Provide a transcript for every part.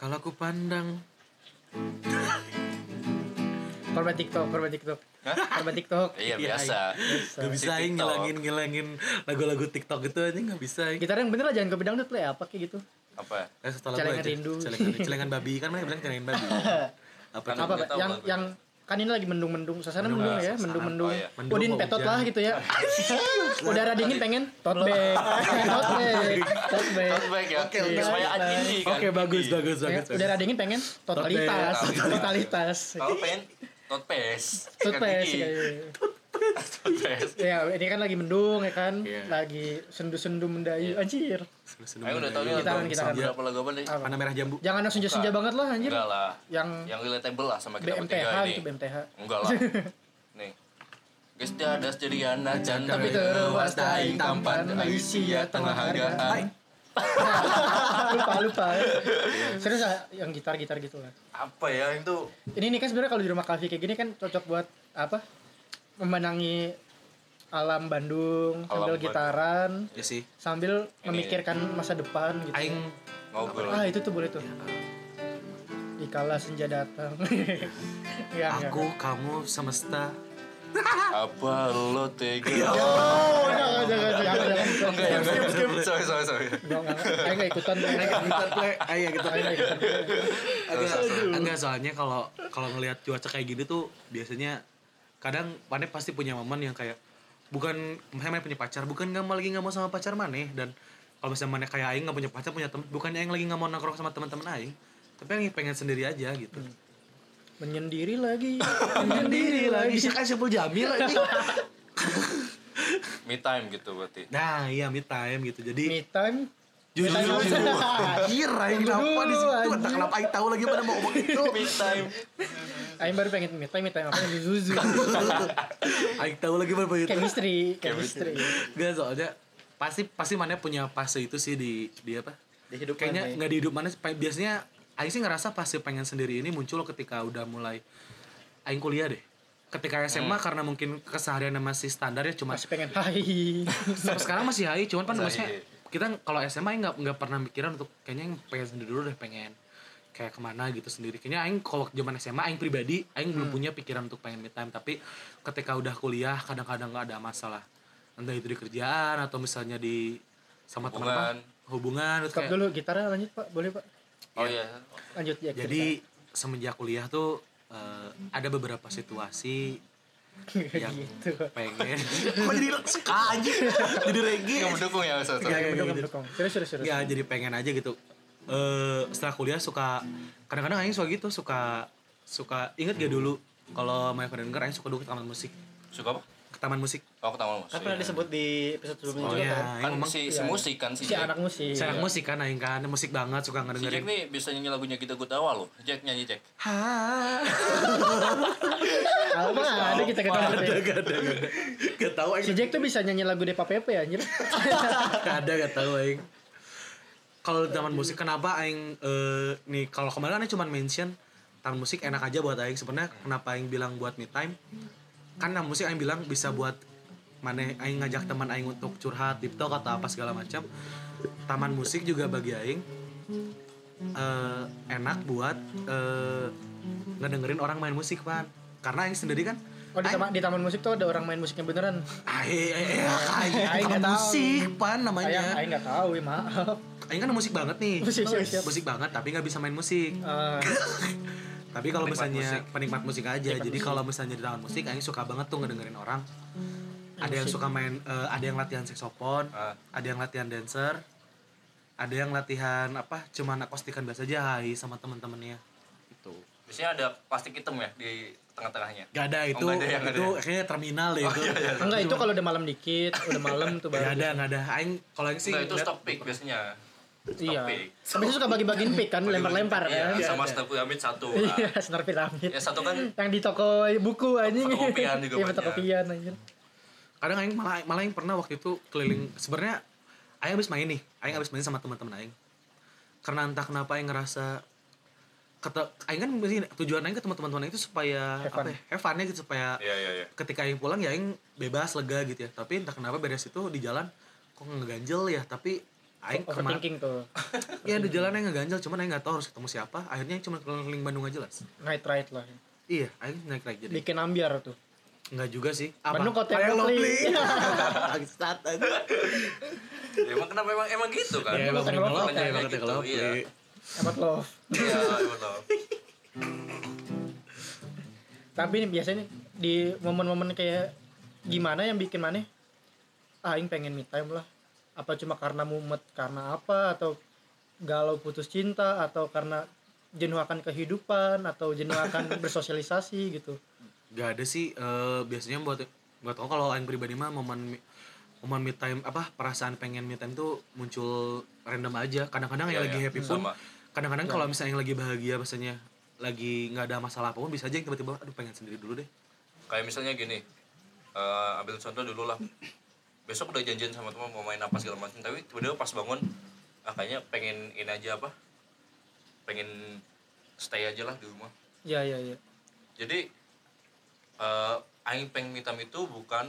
Kalau aku pandang Korban TikTok, korban TikTok. Hah? Korban TikTok. Iya biasa. Gak bisa aing TikTok. ngilangin ngilangin lagu-lagu TikTok itu aja gak bisa aing. Gitar yang bener lah jangan ke bedang dulu play apa kayak gitu. Apa? Eh, setelah Celengan gua aja. rindu. Celengan, celengan babi kan mereka bilang celengan babi. Apa? tuh? Apa Kan nggak tahu yang lagu. yang kan ini lagi mendung-mendung, suasana mendung, ya, mendung-mendung. Oh, iya. Mendung Udin mau petot hujan. lah gitu ya. Udara dingin pengen tot bag, tot bag, tot bag. Baik ya. Oke, oke. Supaya anjing kan. Oke bagus Iya. bagus Ya, bagus. bagus. udara dingin pengen totalitas, Totalitas. totalitas. Kalau pengen totpes. Tot bag sih Gigi. kayaknya. Totpes. Ya, ini kan lagi mendung ya kan, Iya. lagi sendu-sendu Iya. mendayu anjir. Sebelum- Ayo udah tau nih Kita lagu kan, kita kan. Senja. berapa lagu apa nih? Apa? Panah merah jambu. Jangan langsung senja-senja Bukan. banget lah anjir. Enggak lah. Yang Yang relatable lah sama kita BMTH bertiga gitu ini. BMTH. Enggak lah. Nih. Guys, dadas jadi anak jantan Tapi tewas daing tampan Aisyah tengah hargaan. lupa lupa serius ah, yang gitar gitar gitu lah Apa ya itu? ini nih kan sebenarnya kalau di rumah kafe kayak gini kan cocok buat apa memenangi alam Bandung sambil Bandung. gitaran Ya sih. sambil memikirkan masa depan gitu Aing Ngobrol. ah itu tuh boleh tuh dikala senja datang ya, aku kamu semesta. Apa lo tega? Oh, jangan, jangan, jangan, jangan, jangan. Enggak, enggak, enggak. Sorry, sorry, sorry. Enggak, enggak, enggak. Aing nggak ikutan. Ayo kita Aing nggak ikutan. Agak- enggak soalnya kalau kalau ngelihat cuaca kayak gini tuh biasanya kadang Mane pasti punya momen yang kayak bukan misalnya Mane punya pacar bukan nggak mau lagi nggak mau sama pacar Mane dan kalau misalnya Mane kayak Aing nggak punya pacar punya teman bukannya Aing lagi nggak mau nongkrong sama teman-teman Aing tapi Aing pengen sendiri aja gitu Menyendiri lagi, menyendiri lagi. bisa kan sepuluh jamil anjing. Me time gitu berarti. nah iya me time gitu jadi Me time. jujur Me time. jujur anjir Aing kenapa di situ Aduh, entah kenapa Aing tahu lagi pada mau ngomong itu Me time. Aing baru pengen me time, me time apa yang Zuzu. Aing tahu lagi pada itu Chemistry, chemistry. Gak soalnya pasti pasti mana punya fase itu sih di di apa? Di hidup Kayaknya Mane. nggak di hidup mana biasanya Aing sih ngerasa fase pengen sendiri ini muncul ketika udah mulai Aing kuliah deh. Ketika SMA Hmm. karena mungkin keseharian masih standar ya cuma Masih pengen hai. sampai sekarang masih hai cuman kan Masih maksudnya hai. iya. kita kalau SMA Aing nggak nggak pernah mikiran untuk kayaknya Aing pengen sendiri dulu deh pengen kayak kemana gitu sendiri kayaknya Aing kalau waktu zaman SMA Aing pribadi Aing Hmm. belum punya pikiran untuk pengen me time tapi ketika udah kuliah kadang-kadang nggak ada masalah entah itu di kerjaan atau misalnya di sama teman Hubungan. apa, hubungan terus Stop kayak- dulu gitarnya lanjut Pak, boleh Pak? Oh iya. Lanjut ya. jadi semenjak kuliah tuh eh, ada beberapa situasi cerita. yang- gitu. pengen kok jadi suka aja jadi reggae Kamu dukung ya, Nggak, nggak, Kayak Ustaz? mendukung, nggak. mendukung. Serius, serius, serius. Gitu. Ya jadi pengen aja gitu. Eh setelah kuliah suka kadang-kadang aing suka gitu suka suka inget gak dulu kalau main denger aing suka dulu ke taman musik Suka apa? ke taman musik Oh, aku tahu Kan pernah disebut di episode sebelumnya oh juga kan. ya Kan aing ngomong si, si musik kan si Si Jack. anak musik. senang musik kan aing kan musik banget suka Si Jack ngedengerin nih bisa nyanyi lagunya kita gue tawa loh. Jack nyanyi Jack. ha Alma ada kita Apa? ada gak ketemu. ada gak ada gak tau aing Si Jack tuh bisa nyanyi lagu Depa Pepe anjir. gak ada gak tau aing kalau taman musik kenapa aing eh, nih kalau kemarin aing cuma mention taman musik enak aja buat aing sebenarnya kenapa aing bilang buat me time kan taman musik aing bilang bisa buat mana aing ngajak teman aing untuk curhat tiptok atau apa segala macam taman musik juga bagi aing eh, enak buat eh, ngedengerin orang main musik pan karena aing sendiri kan "Ah, Oh di aing- taman, di taman musik tuh ada orang main musiknya beneran. Aing- aing- aing- Aing bukan nggak tahu. musik pan namanya Ayang, Aing nggak tahu, ya, maaf. Aing kan musik banget nih. Musik, siap, siap. Musik banget tapi nggak bisa main musik. Eh, Tapi kalau Penikmat misalnya musik. penikmat musik aja. Penikmat Jadi musik. kalau misalnya di dalam musik Aing suka banget tuh ngedengerin orang. Ada yang Hmm. musik. suka main eh, ada yang latihan saxophone, Ah. ada yang latihan dancer, ada yang latihan apa cuman akustikan biasa aja hai sama temen-temennya itu Biasanya ada plastik hitam ya di tengah-tengahnya. gak ada itu Oh, nggak ada yang ada itu ya? iya, kayaknya terminal deh itu enggak itu kalau udah malam dikit, udah malam tuh gak baru. ada gak ada aing kalau yang sih Enggak, itu ngeliat- stop pick biasanya. Stop Iya. pick. Habis itu suka bagi-bagiin pick kan, lempar-lempar Iya, kan. sama Step Pyramid satu. lah. Iya, senar piramid. Ya satu kan Yang di toko buku anjing. Fotokopian Iya, juga banyak. fotokopian anjing. kadang aing malah malah aing pernah waktu itu keliling sebenarnya aing habis main nih aing habis main sama teman-teman aing karena entah kenapa aing ngerasa kata aing kan biasanya tujuan aing ke teman-teman aing itu supaya Have apa fun. ya, have fun-nya gitu supaya Iya, iya, iya. ketika aing pulang ya aing bebas lega gitu ya tapi entah kenapa beres itu di jalan kok ngeganjel ya tapi aing kemana overthinking tuh ya di jalan aing ngeganjel cuman aing nggak tahu harus ketemu siapa akhirnya aing cuma keliling Bandung aja lah night ride lah iya aing naik naik jadi bikin ambiar tuh nggak juga sih apa Bandung kota yang Aing lovely. Bangsat, aja Ya, emang kenapa emang emang gitu kan? ya emang kota bener yang lovely, lovely. emang kota yang gitu, lovely. Iya. hemat love Iya, betul. tapi nih biasanya nih, di momen-momen kayak gimana yang bikin mana ah aing pengen me time lah apa cuma karena mumet karena apa atau galau putus cinta atau karena jenuh akan kehidupan atau jenuh akan bersosialisasi gitu nggak ada sih eh, biasanya buat buat aku kalau yang pribadi mah momen mi- momen me time apa perasaan pengen me time tuh muncul random aja kadang-kadang yang Iya, lagi iya. happy pun Sama. Iya. kadang-kadang kalau misalnya yang lagi bahagia biasanya lagi nggak ada masalah apapun bisa aja yang tiba-tiba aduh pengen sendiri dulu deh Kayak misalnya gini, eh, ambil contoh dulu lah. Besok udah janjian sama teman mau main apa segala macam, tapi tiba-tiba pas bangun, ah, kayaknya pengen ini aja apa? Pengen stay aja lah di rumah. ya ya ya jadi eh aing pengen me time itu bukan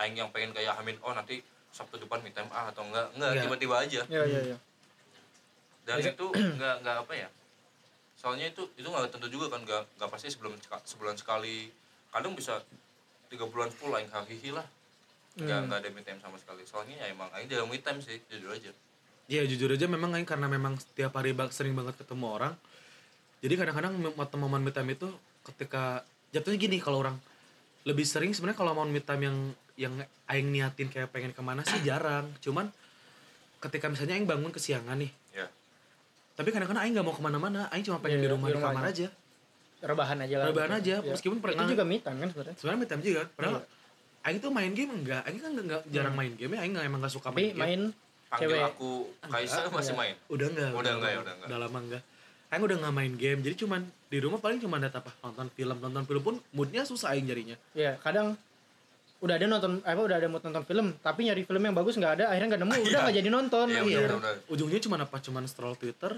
aing yang pengen kayak Amin oh nanti Sabtu depan me time ah atau enggak enggak Enggak. tiba-tiba aja ya ya ya dan itu enggak enggak apa ya soalnya itu itu enggak tentu juga kan enggak enggak pasti sebelum seka- sebulan sekali kadang bisa tiga bulan full aing hahihi lah Hmm. Hmm. Ya. enggak enggak ada me time sama sekali soalnya ya emang aing jarang me time sih jujur aja Iya jujur aja memang Aing karena memang setiap hari bak- sering banget ketemu orang. Jadi kadang-kadang mem- momen me time itu ketika jatuhnya gini kalau orang lebih sering sebenarnya kalau momen me time yang yang aing niatin kayak pengen kemana sih jarang. Cuman ketika misalnya aing bangun kesiangan nih, ya tapi kadang-kadang aing nggak mau kemana-mana, aing cuma pengen Iya, di rumah di di rumah kamar aja. aja. rebahan aja lah Rebahan aja, Ya. meskipun pernah- itu juga me time kan sebenarnya Sebenarnya me time juga, padahal Iya. aing tuh main game enggak, aing kan enggak jarang main game ya, aing nggak- emang gak suka Hmm. tapi main game. main panggil cewek aku Kaisa masih main Udah enggak? Udah nggak ya, udah nggak. lama enggak. Aing udah nggak main game, jadi cuman di rumah paling cuman liat apa nonton film, nonton film pun moodnya susah aing jarinya. ya kadang udah ada nonton apa udah ada mood nonton film tapi nyari film yang bagus nggak ada akhirnya nggak nemu udah nggak jadi nonton Iya, anjir. bener-bener. Benar. Ujungnya cuman apa? Cuman scroll Twitter,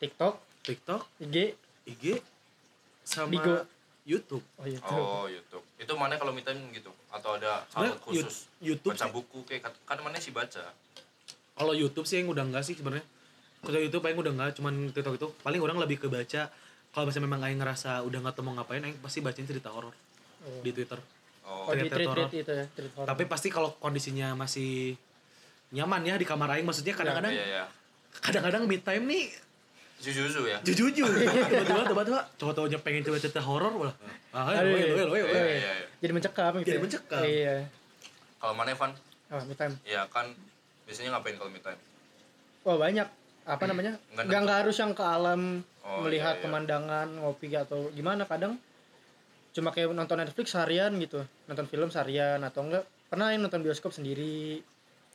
TikTok TikTok, IG IG, sama Bigo. YouTube. oh iya tuh. Oh YouTube. Itu mana kalau me time gitu? Atau ada hal Sebenarnya khusus? Yu- YouTube baca sih. buku kayak kat- kan mana sih baca? Kalau YouTube sih yang udah enggak sih sebenarnya. Kalau YouTube aing udah enggak, cuman TikTok itu paling orang lebih ke baca. Kalau misalnya memang aing ngerasa udah nggak tau mau ngapain, aing pasti bacain cerita horor di Twitter. Oh, Oh, di Ternyata tweet horor. tweet itu ya tweet horor. Tapi pasti kalau kondisinya masih nyaman ya di kamar aing maksudnya kadang-kadang iya ya. kadang-kadang me time nih Jujuzu ya. jujur Iya. tiba-tiba tiba-tiba cowok-cowoknya pengen coba cerita horor malah ah Aduh, loel loel loel Iya, loel. iya, iya. jadi mencekam gitu Jadi ya. mencekam. iya Kalau mana Evan? ah me time Ya kan biasanya ngapain kalau me time? wah Oh, banyak apa namanya Iya, Nggak nggak nonton. nggak harus yang ke alam Oh, melihat iya, iya. pemandangan ngopi atau gimana kadang cuma kayak nonton Netflix seharian gitu nonton film seharian atau enggak pernah yang nonton bioskop sendiri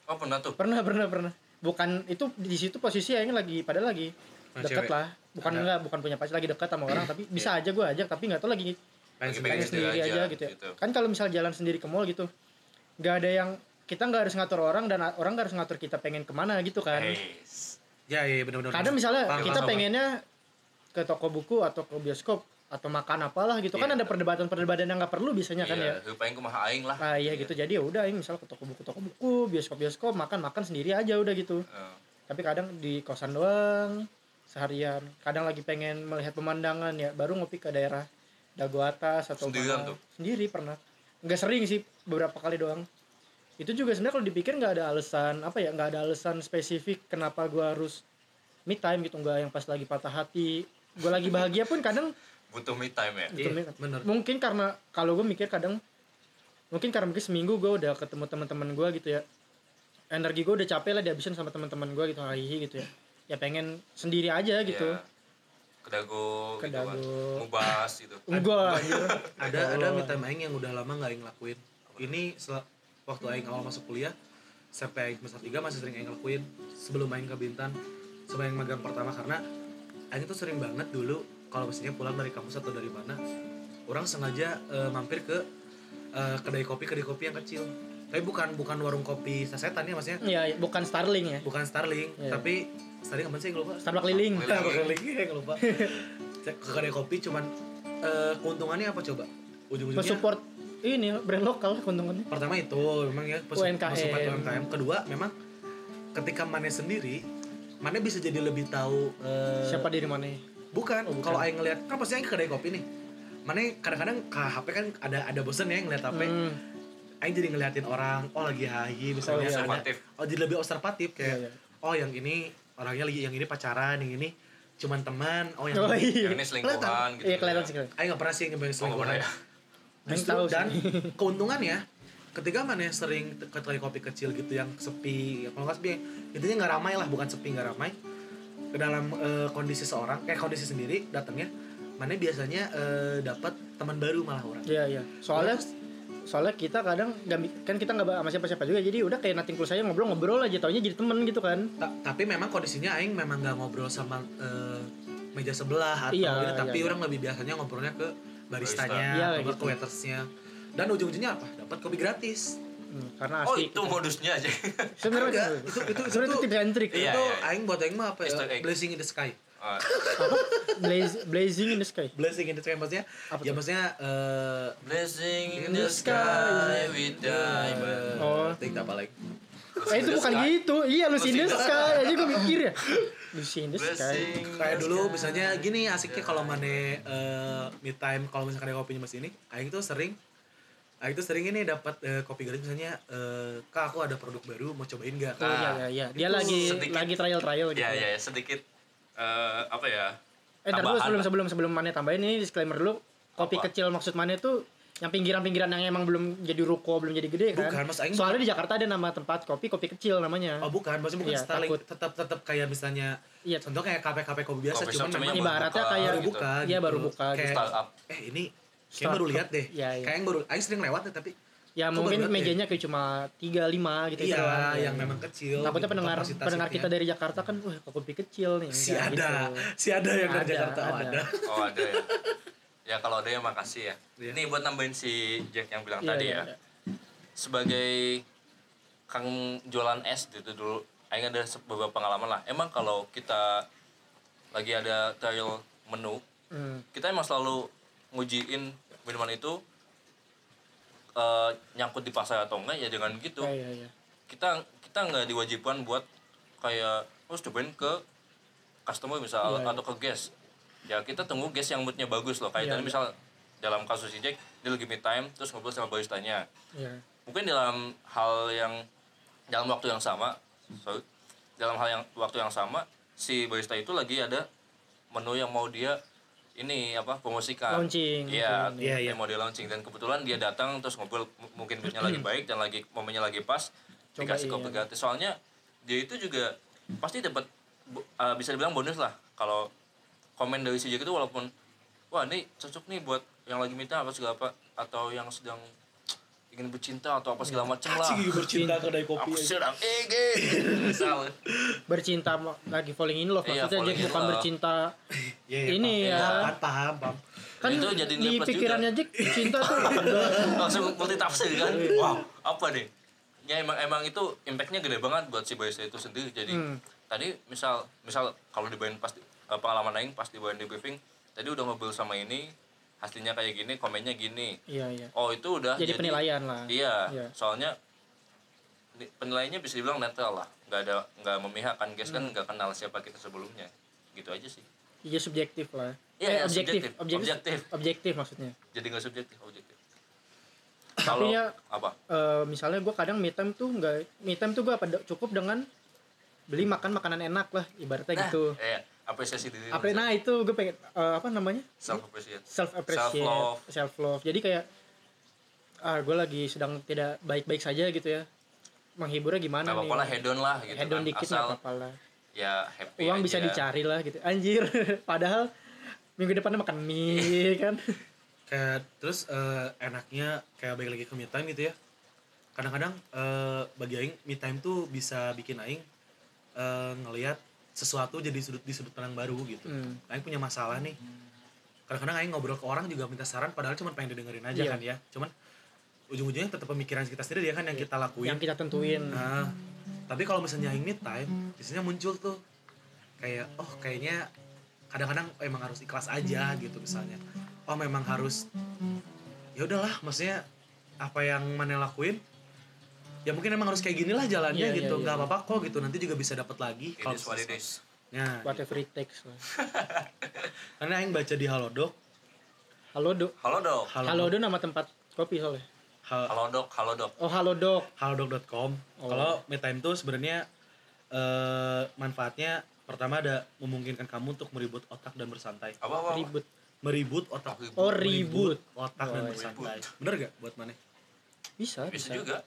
Oh pernah tuh. pernah pernah pernah bukan itu di situ posisi yang lagi pada lagi Sama dekat cewek. lah bukan Ada. enggak bukan punya pacar lagi dekat sama Iya. orang tapi bisa aja gue ajak tapi nggak tahu lagi Pengen Lagi sendiri. pengen sendiri aja, gitu, ya. kan kalau misal jalan sendiri ke mall gitu nggak ada yang kita nggak harus ngatur orang dan a- orang nggak harus ngatur kita pengen kemana gitu kan Yes. ya ya benar-benar kadang misalnya Paham, kita paham, pengennya ke toko buku atau ke bioskop atau makan apalah gitu kan ada Iya. perdebatan-perdebatan yang nggak perlu biasanya kan ya Iya, paling kumaha aing lah. nah iya gitu jadi ya udah ini misal ke toko buku toko buku bioskop bioskop makan makan sendiri aja udah gitu Eh, tapi kadang di kosan doang seharian kadang lagi pengen melihat pemandangan ya baru ngopi ke daerah dago atas atau Sendirian mana. tuh? sendiri pernah nggak sering sih beberapa kali doang itu juga sebenarnya kalau dipikir nggak ada alasan apa ya nggak ada alasan spesifik kenapa gua harus me time gitu nggak yang pas lagi patah hati gue lagi bahagia pun kadang butuh me time ya. Iya, Bener. bener. mungkin karena kalau gue mikir kadang mungkin karena mungkin seminggu gue udah ketemu teman-teman gue gitu ya energi gue udah capek lah dihabisin sama teman-teman gue gitu hihi gitu ya ya pengen sendiri aja gitu Iya. Kedago, gitu kan. Kedago. Mubas gitu. enggak anjir. ada Oh. ada me time aing yang udah lama nggak aing lakuin ini sel- waktu aing awal masuk kuliah sampai aing semester 3 masih sering aing lakuin sebelum aing ke Bintan sebelum aing magang pertama karena aing tuh sering banget dulu kalau misalnya pulang dari kampus atau dari mana orang sengaja eh, mampir ke eh, kedai kopi kedai kopi yang kecil tapi bukan bukan warung kopi sasetan ya maksudnya ya ya, bukan Starling ya bukan Starling Iya. tapi Starling apa sih yang lupa Starbuck liling Liling. bukan lagi yang lupa Cek ke kedai kopi cuman eh, keuntungannya apa coba ujung-ujungnya support ini brand lokal keuntungannya pertama itu memang ya pesu- UMKM. pesupat UMKM kedua memang ketika Mane sendiri Mane bisa jadi lebih tahu eh, siapa Oh, diri mana Bukan, kalau Aing ngelihat kan pasti Aing ke kedai kopi nih. Mana kadang-kadang ke HP kan ada ada bosen ya ngeliat HP. Hmm. Aing jadi ngeliatin orang, oh lagi hahi misalnya. Lebih ada- observatif. Oh jadi lebih observatif kayak, Iya, iya. oh yang ini orangnya lagi yang ini pacaran, yang ini cuman teman, oh yang oh iya yang ini selingkuhan gitu iya kelihatan sih kelihatan Aing gak pernah sih ngebayang Oh, nggak selingkuhan. pernah ya? Justru, Aing tahu sih. dan keuntungannya ketika mana sering ke kedai kopi kecil gitu yang sepi, ya, kalau nggak sepi, intinya nggak ramai lah, bukan sepi nggak ramai. Ke dalam eh, kondisi seorang, kayak kondisi sendiri datangnya, mana biasanya eh, dapat teman baru malah orang. iya iya soalnya soalnya kita kadang nggak bi- kan kita nggak sama siapa siapa juga jadi udah kayak nothing tulus aja ngobrol ngobrol aja taunya jadi temen gitu kan Ta- tapi memang kondisinya Aing memang nggak ngobrol sama eh, meja sebelah atau Iya, ini, tapi iya, iya. orang lebih biasanya ngobrolnya ke baristanya, Barista. Iya, atau gitu. ke waitersnya. Dan ujung-ujungnya apa? Dapat kopi gratis. Hmm, karena oh asli itu modusnya aja sebenarnya Enggak, itu- itu itu itu, sebenarnya itu tips and trick Iya, itu iya, iya. Aing buat Aing mah apa? Easter ya? egg. Blessing in the sky. Ah, Blaze- blazing in the sky Blessing in the sky maksudnya? Apa ya tuh? maksudnya eh, blessing in the sky with diamond eh, Oh. Think apa like? eh itu bukan gitu iya lu in the sky aja gue mikir ya lu in the sky blessing in Kayak the dulu sky. misalnya gini asiknya kalau mana eh, me time kalau misalkan ada kopinya masih ini, aing tuh sering aing tuh sering ini dapat eh, kopi gratis misalnya eh, Kak aku ada produk baru mau cobain gak? Ah, Oh, Kak? iya, iya, iya. Dia Itu lagi sedikit. lagi trial trial gitu. ya ya ya, sedikit eh, apa ya Eh, ntar dulu tambahan sebelum lah. sebelum sebelum Mane tambahin ini disclaimer dulu. Kopi Apa? kecil maksud Mane tuh yang pinggiran-pinggiran yang emang belum jadi ruko, belum jadi gede kan. Bukan, Mas Aing. Soalnya di Jakarta ada nama tempat kopi kopi kecil namanya. Oh bukan, maksudnya bukan Iya, Starling, takut. tetap tetap kayak misalnya Iya. contoh kayak kafe-kafe kopi biasa Coffee cuman shop cuman memang yang ibaratnya buka, kayak- baru gitu. buka Iya, gitu. baru buka Kayak, gitu. Startup. eh ini kayak Startup. baru lihat deh. Iya, iya. Kayak yang baru aing sering lewat deh tapi Kok ya mungkin baru lihat mejanya kayak cuma 3 5 gitu Iya, doang. yang memang kecil. Takutnya pendengar Gitu, kapasitasnya. pendengar kita dari Jakarta kan, wah kok kopi kecil nih. si Enggak ada, gitu. si ada yang dari Ada, Jakarta oh, ada. ada. oh ada ya ya kalau ada ya makasih ya Iya. ini buat nambahin si Jack yang bilang Iya, tadi iya, ya iya. sebagai kang jualan es gitu dulu Aing ada se- beberapa pengalaman lah emang kalau kita lagi ada trial menu Hmm. kita emang selalu ngujiin minuman itu eh, nyangkut di pasar atau enggak ya dengan gitu Iya, iya, iya. kita kita nggak diwajibkan buat kayak harus cobain ke customer misal Iya, atau ke guest ya kita tunggu guest yang moodnya bagus loh kayak Iya, tadi iya. misal dalam kasus si Jack dia lagi mid time terus ngobrol sama baristanya Iya. mungkin dalam hal yang dalam waktu yang sama sorry, dalam hal yang waktu yang sama si barista itu lagi ada menu yang mau dia ini apa promosikan Launching, Ah, iya mungkin, iya. Iya, iya. yang mau dia launching dan kebetulan dia datang terus ngobrol m- mungkin moodnya Hmm. lagi baik dan lagi momennya lagi pas iya. dikasih Cobain. kopi gratis soalnya dia itu juga pasti dapat bo- eh, bisa dibilang bonus lah kalau komen dari si Jack itu walaupun wah ini cocok nih buat yang lagi minta apa segala apa atau yang sedang ingin bercinta atau apa segala macem lah Cigi bercinta kedai Iya. kopi. aku aja. sedang ingin misal Bercinta ma- lagi falling in love Iya, maksudnya falling Jack in bukan love. bercinta Iya, Ini ya. Paham, paham, paham. kan Itu jadi di nilai plus pikirannya Jack cinta tuh udah langsung multi tafsir kan Iya. wow apa nih ya emang emang itu impactnya gede banget buat si barista itu sendiri jadi Hmm. Hmm. tadi misal misal kalau dibayarin pasti eh, pengalaman lain pas dibayarin di briefing tadi udah ngobrol sama ini hasilnya kayak gini komennya gini iya iya oh itu udah jadi penilaian lah Iya, Iya. soalnya ni- penilaiannya bisa dibilang netral lah, nggak ada nggak memihak kan guys Hmm. kan nggak kenal siapa kita sebelumnya, gitu aja sih. Iya subjektif lah. Eh, Iya, iya, objektif. subjektif. objektif. Objektif. Objektif. maksudnya. Jadi nggak subjektif, objektif. Kalau ya- apa? Eh, misalnya gue kadang me time tuh nggak me time tuh gue apa cukup dengan beli makan makanan enak lah ibaratnya gitu. Eh, apresiasi diri. Apa nah itu gue pengen eh, apa namanya? Self appreciate. Self appreciate, self Self-love. love. Jadi kayak ah gue lagi sedang tidak baik-baik saja gitu ya. Menghiburnya gimana Nggak nih? apa-apa lah, hedon lah gitu. Hedon kan. dikit Asal nggak apa-apa lah. ya happy. Uang bisa aja. dicari lah gitu. Anjir. Padahal minggu depannya makan mie Iya. kan. Kayak terus eh, enaknya kayak balik lagi ke me time gitu ya. Kadang-kadang eh, bagi aing me time tuh bisa bikin aing eh, ngelihat sesuatu jadi sudut di sudut pandang baru gitu. Hmm. Aing punya masalah nih. Kadang-kadang aing ngobrol ke orang juga minta saran padahal cuma pengen didengerin aja Iya. kan ya. Cuman ujung-ujungnya tetap pemikiran kita sendiri ya kan yang kita lakuin. Iya. Yang kita tentuin. Hmm. Nah, tapi kalau misalnya yang mid time, biasanya muncul tuh kayak oh kayaknya kadang-kadang emang harus ikhlas aja gitu misalnya. Oh memang harus ya udahlah, maksudnya apa yang mana lakuin ya mungkin emang harus kayak gini lah jalannya Iya, iya, gitu iya. nggak apa-apa kok gitu nanti juga bisa dapat lagi It is what it is. nah whatever it takes lah. karena yang baca di halodoc Halodo. Halo dok. halodoc Halodo nama tempat kopi soalnya. hal- Halo dok. Halo dok. Oh, Halodo. halodoc.com Oh. kalau me time tuh sebenarnya eh, manfaatnya pertama ada memungkinkan kamu untuk meribut otak dan bersantai Apa apa? apa? Ribut. meribut otak Ribut. Oh, ribut. otak dan Oh, iya. bersantai bener gak buat mana Bisa, Bisa juga.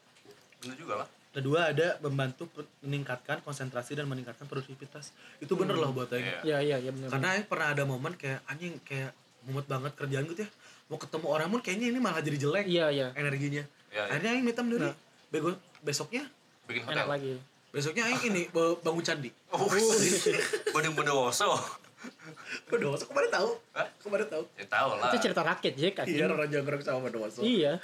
Bener juga lah. kedua ada membantu pe- meningkatkan konsentrasi dan meningkatkan produktivitas itu bener loh buat Aing Iya. Iya, iya, iya benar. karena Aing pernah ada momen kayak anjing kayak mumet banget kerjaan gitu ya mau ketemu orang pun kayaknya ini malah jadi jelek Iya, iya. Nah. energinya Ya, ya. akhirnya Aing minta dulu bego besoknya Bikin Enak hotel. lagi. besoknya Aing ini be- bangun candi Oh, bodeng bodowoso. Berdosa kemarin tahu Hah? kemarin tahu Ya tau lah. Itu cerita rakyat Jack kan. iya orang jongkrong sama berdosa Iya.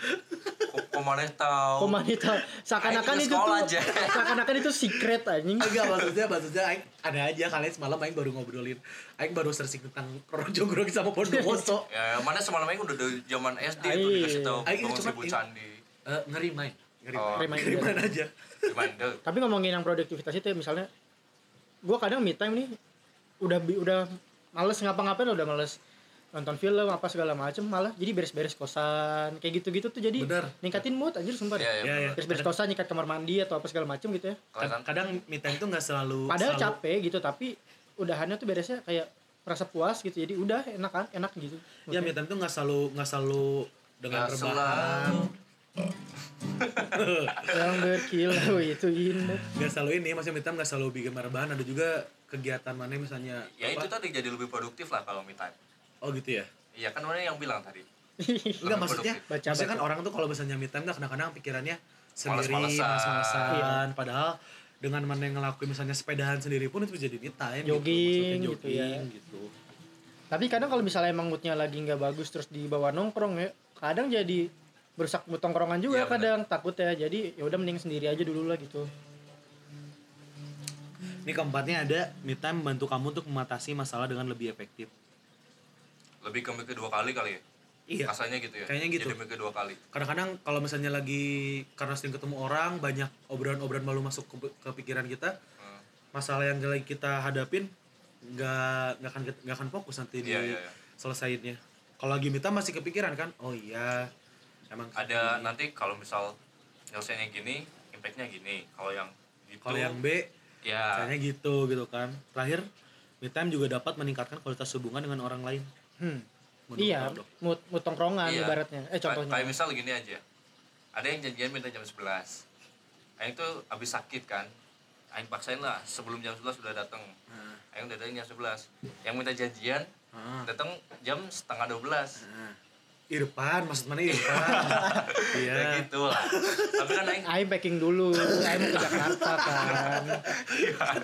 Ko- Komane tau. Komanita seakan-akan Oh, Ayo itu kita sekolah tuh aja. seakan-akan itu secret anjing. Enggak maksudnya maksudnya Aing ada aja kalian semalam Aing baru ngobrolin Aing baru searching tentang orang jongkrong sama berdosa Ya, mana semalam ini udah dari zaman SD itu Ayo. dikasih tahu Ayo, bangun cuman seribu ini- candi. Eh, ngeri main ngeri Oh. main Reminder. ngeri main aja Reminder. Tapi ngomongin yang produktivitas itu ya, misalnya gua kadang me time nih udah bi- udah males ngapa-ngapain udah males nonton film apa segala macem malah jadi beres-beres kosan kayak gitu-gitu tuh jadi Bener. ningkatin mood anjir sumpah Iya, deh. Iya, Kan iya. iya. Beres-beres kosan nyikat kamar mandi atau apa segala macem gitu ya. Kelihatan kadang me time tuh nggak selalu Padahal selalu- capek gitu tapi udahannya tuh beresnya kayak merasa puas gitu jadi udah enak kan enak gitu. ya me time tuh nggak selalu nggak selalu dengan Nggak rebahan selalu. yang berkilau itu indah. nggak selalu ini maksudnya me time nggak selalu bikin rebahan ada juga kegiatan mana misalnya Ya apa? itu tadi jadi lebih produktif lah kalau me time. oh gitu ya Iya kan mana yang bilang tadi. enggak maksudnya produktif. Baca, maksudnya kan baca. orang tuh kalau misalnya me time tuh kadang-kadang pikirannya sendiri Males-malesan. males-malesan Iya. padahal dengan mana yang ngelakuin misalnya sepedahan sendiri pun itu jadi me time Jogging gitu, maksudnya gitu ya. jogging gitu, Tapi kadang kalau misalnya emang moodnya lagi nggak bagus terus dibawa nongkrong ya, kadang jadi berusak mood tongkrongan juga Iya, benar. kadang takut ya. Jadi ya udah mending sendiri aja dulu lah gitu. ini keempatnya ada me time membantu kamu untuk mengatasi masalah dengan lebih efektif Lebih ke mikir dua kali kali ya. iya Rasanya gitu ya. Kayaknya gitu. Jadi mikir dua kali. kadang-kadang kalau misalnya lagi karena sering ketemu orang banyak obrolan-obrolan baru masuk ke, ke pikiran kita Hmm. masalah yang lagi kita hadapin nggak nggak akan nggak akan fokus nanti di Iya, iya, iya. selesaiinnya kalau lagi minta masih kepikiran kan oh iya emang Ada kayak gini. nanti kalau misal nyelesainnya gini, impactnya gini. Kalau yang gitu, kalau yang B ya kayaknya gitu gitu kan terakhir me time juga dapat meningkatkan kualitas hubungan dengan orang lain Hmm. Menurut Iya, Aldo. mood, mood tongkrongan Iya. ibaratnya. Eh Kayak- Kayak contohnya. misal gini aja. Ada yang janjian minta jam 11. Aing tuh habis sakit kan. Aing paksain lah sebelum jam 11 sudah datang. Nah, Aing udah datang jam 11. Yang minta janjian ah, datang jam setengah 12. nah. Irfan maksud mana Irfan Ya iya gitu lah. Tapi kan aing Aing packing dulu, Aing mau ke Jakarta kan.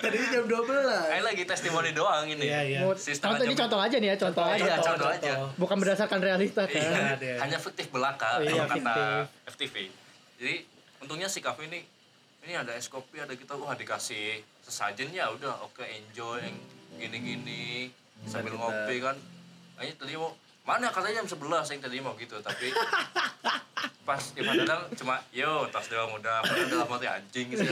tadinya jam 12 aing lagi testimoni doang ini. iya iya Mood, Si setengah contoh, ini jam- contoh aja nih ya, contoh, Iya, aja. contoh aja. Bukan berdasarkan realita kan. Iya, ada. hanya fiktif Oh, belaka iya, kalau kata FTV. Jadi untungnya si kafe ini ini ada es kopi, ada kita wah dikasih sesajen ya udah oke enjoy yang gini-gini kita- sambil ngopi kan. Ayo tadi mau mana katanya jam 11 yang tadi mau gitu tapi pas di padahal cuma yo tas doang udah padahal dalam hati anjing sih.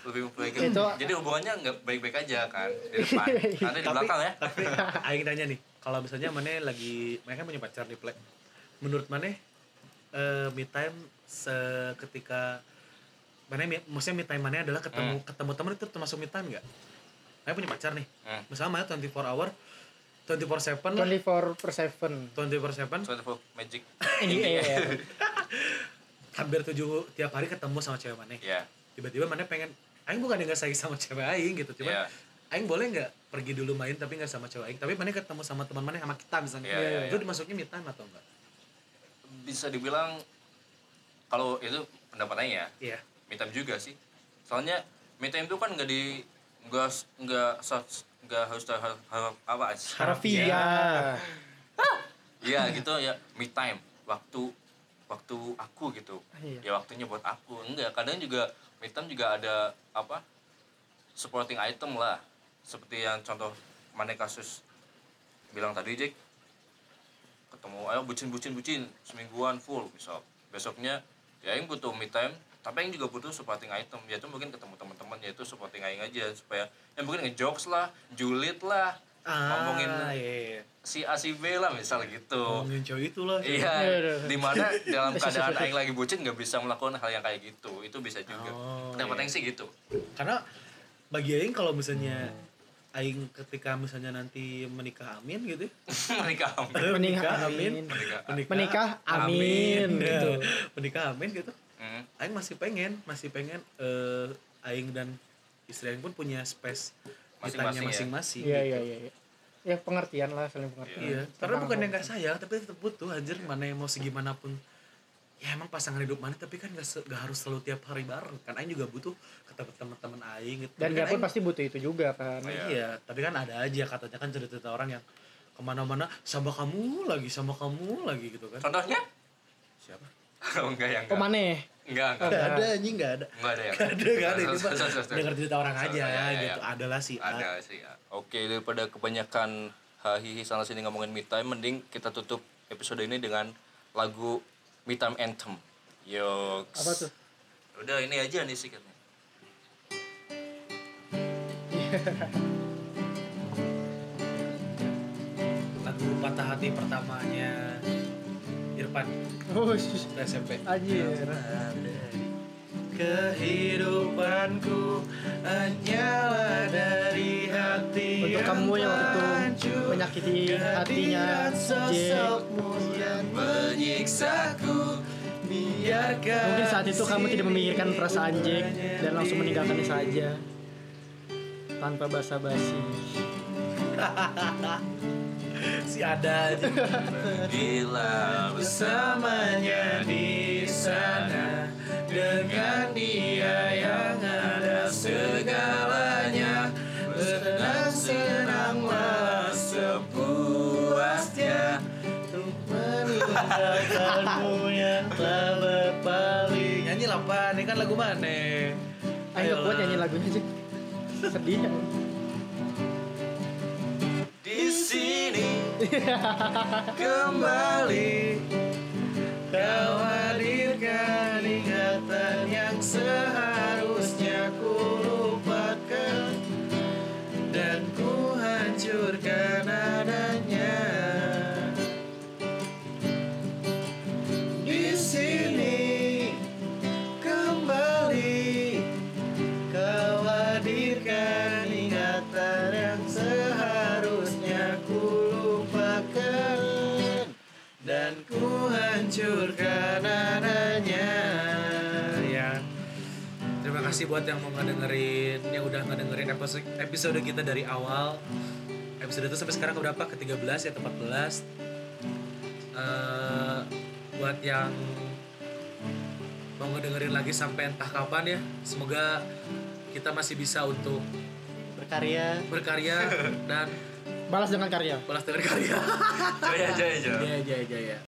lebih memperbaiki Itu- jadi hubungannya nggak baik-baik aja kan di depan ada di belakang ya tapi aing tanya nih kalau misalnya mana lagi mana kan punya pacar nih plek menurut mana eh me time se- ketika mana me- maksudnya me time mana adalah ketemu ketemu teman itu termasuk me time nggak mana punya pacar nih Hmm. misalnya mana 24 hour 24 7 lah 24 per 7. 24 7 Soalnya magic ya. Iya. hampir 7 tiap hari ketemu sama cewek mana ya tiba-tiba mana pengen aing bukan nggak sayang sama cewek aing gitu cuman Iya. aing boleh nggak pergi dulu main tapi nggak sama cewek aing tapi mana ketemu sama teman mana sama kita misalnya Iya, iya, itu iya. dimasuknya me time atau enggak bisa dibilang kalau itu pendapatannya ya iya me time juga sih soalnya me time itu kan nggak di nggak s- nggak sa- nggak harus tar- har- har- apa sih? Harfiah. Iya gitu ya me time waktu waktu aku gitu Iya. ya waktunya buat aku enggak kadang juga me time juga ada apa supporting item lah seperti yang contoh mana kasus bilang tadi Jack ketemu ayo bucin bucin bucin semingguan full misal besoknya ya Aing butuh me time tapi Aing juga butuh supporting item yaitu mungkin ketemu teman-teman yaitu supporting Aing aja supaya yang mungkin ngejokes lah julid lah Ah. iya, ngomongin iya. si A si B lah misal gitu ngomongin cowok itu lah Iya, Iya, iya. dimana dalam keadaan Aing lagi bucin nggak bisa melakukan hal yang kayak gitu, itu bisa juga. Oh, Pendapat Aing sih gitu. karena bagi Aing kalau misalnya Aing ketika misalnya nanti menikah amin gitu ya. Mereka ambil. Eh, Menikah, amin. Mereka. Menikah, amin, Ya, gitu. menikah amin gitu Hmm. Aing masih pengen masih pengen eh, Aing dan istri Aing pun punya space kitanya Masing-masing ya? masing-masing Iya, gitu. iya, iya. iya. Ya pengertian lah, saling pengertian. Iya, karena bukan yang gak sayang, tapi tetap butuh anjir mana yang mau segimana pun. Ya emang pasangan hidup mana, tapi kan gak, se- gak harus selalu tiap hari bareng. Kan Aing juga butuh ketemu teman-teman Aing gitu. Dan Tapi dia kan pun Aing- pasti butuh itu juga kan. Iya. Iya, tapi kan ada aja katanya kan cerita-cerita orang yang kemana-mana sama kamu lagi, sama kamu lagi gitu kan. Contohnya? Siapa? Oh, enggak yang Oh, enggak. mana? Enggak, enggak. Gak ada anjing, gak ada. Enggak ada yang. Gak ada, gak ada. Ini mah Sorry, sorry, sorry. denger cerita orang Sorry, aja iya, iya, gitu. iya. Adalah sih. Ada sih. ya. Oke, daripada kebanyakan hahihi sana sini ngomongin me time mending kita tutup episode ini dengan lagu me time anthem. Yo. Apa tuh? Udah ini aja nih sikatnya. Lagu patah hati pertamanya Irfan Oh, sus. waktu SMP. Anjir. Kehidupanku hanyalah dari hati Untuk kamu yang waktu itu hancur. menyakiti hatinya Kehadiran J. sosokmu yang menyiksaku Biarkan Mungkin saat itu kamu tidak memikirkan sini perasaan Jack kumenyendiri. dan langsung meninggalkannya saja tanpa basa-basi. Si ada aja. Bila bersamanya di sana dengan dia yang ada segalanya bersenang senanglah sepuasnya untuk meninggalkanmu yang tak berpaling nyanyi lah Pan. ini kan lagu mana Ayo buat nyanyi lagunya aja. Sedih ya. di sini kembali Kau hadirkan ingatan yang seharusnya ku lupakan Dan ku hancurkan adanya Di sini kembali Kau hadirkan ingatan yang seharusnya ku lupakan dan ku hancurkan adanya ya terima kasih buat yang mau ngedengerin yang udah ngedengerin episode episode kita dari awal episode itu sampai sekarang berapa ke 13 ya 14 Eh, buat yang mau ngedengerin lagi sampai entah kapan ya semoga kita masih bisa untuk Berkarya. berkarya dan Balas dengan karya. balas dengan karya jaya jaya jaya jaya jaya jaya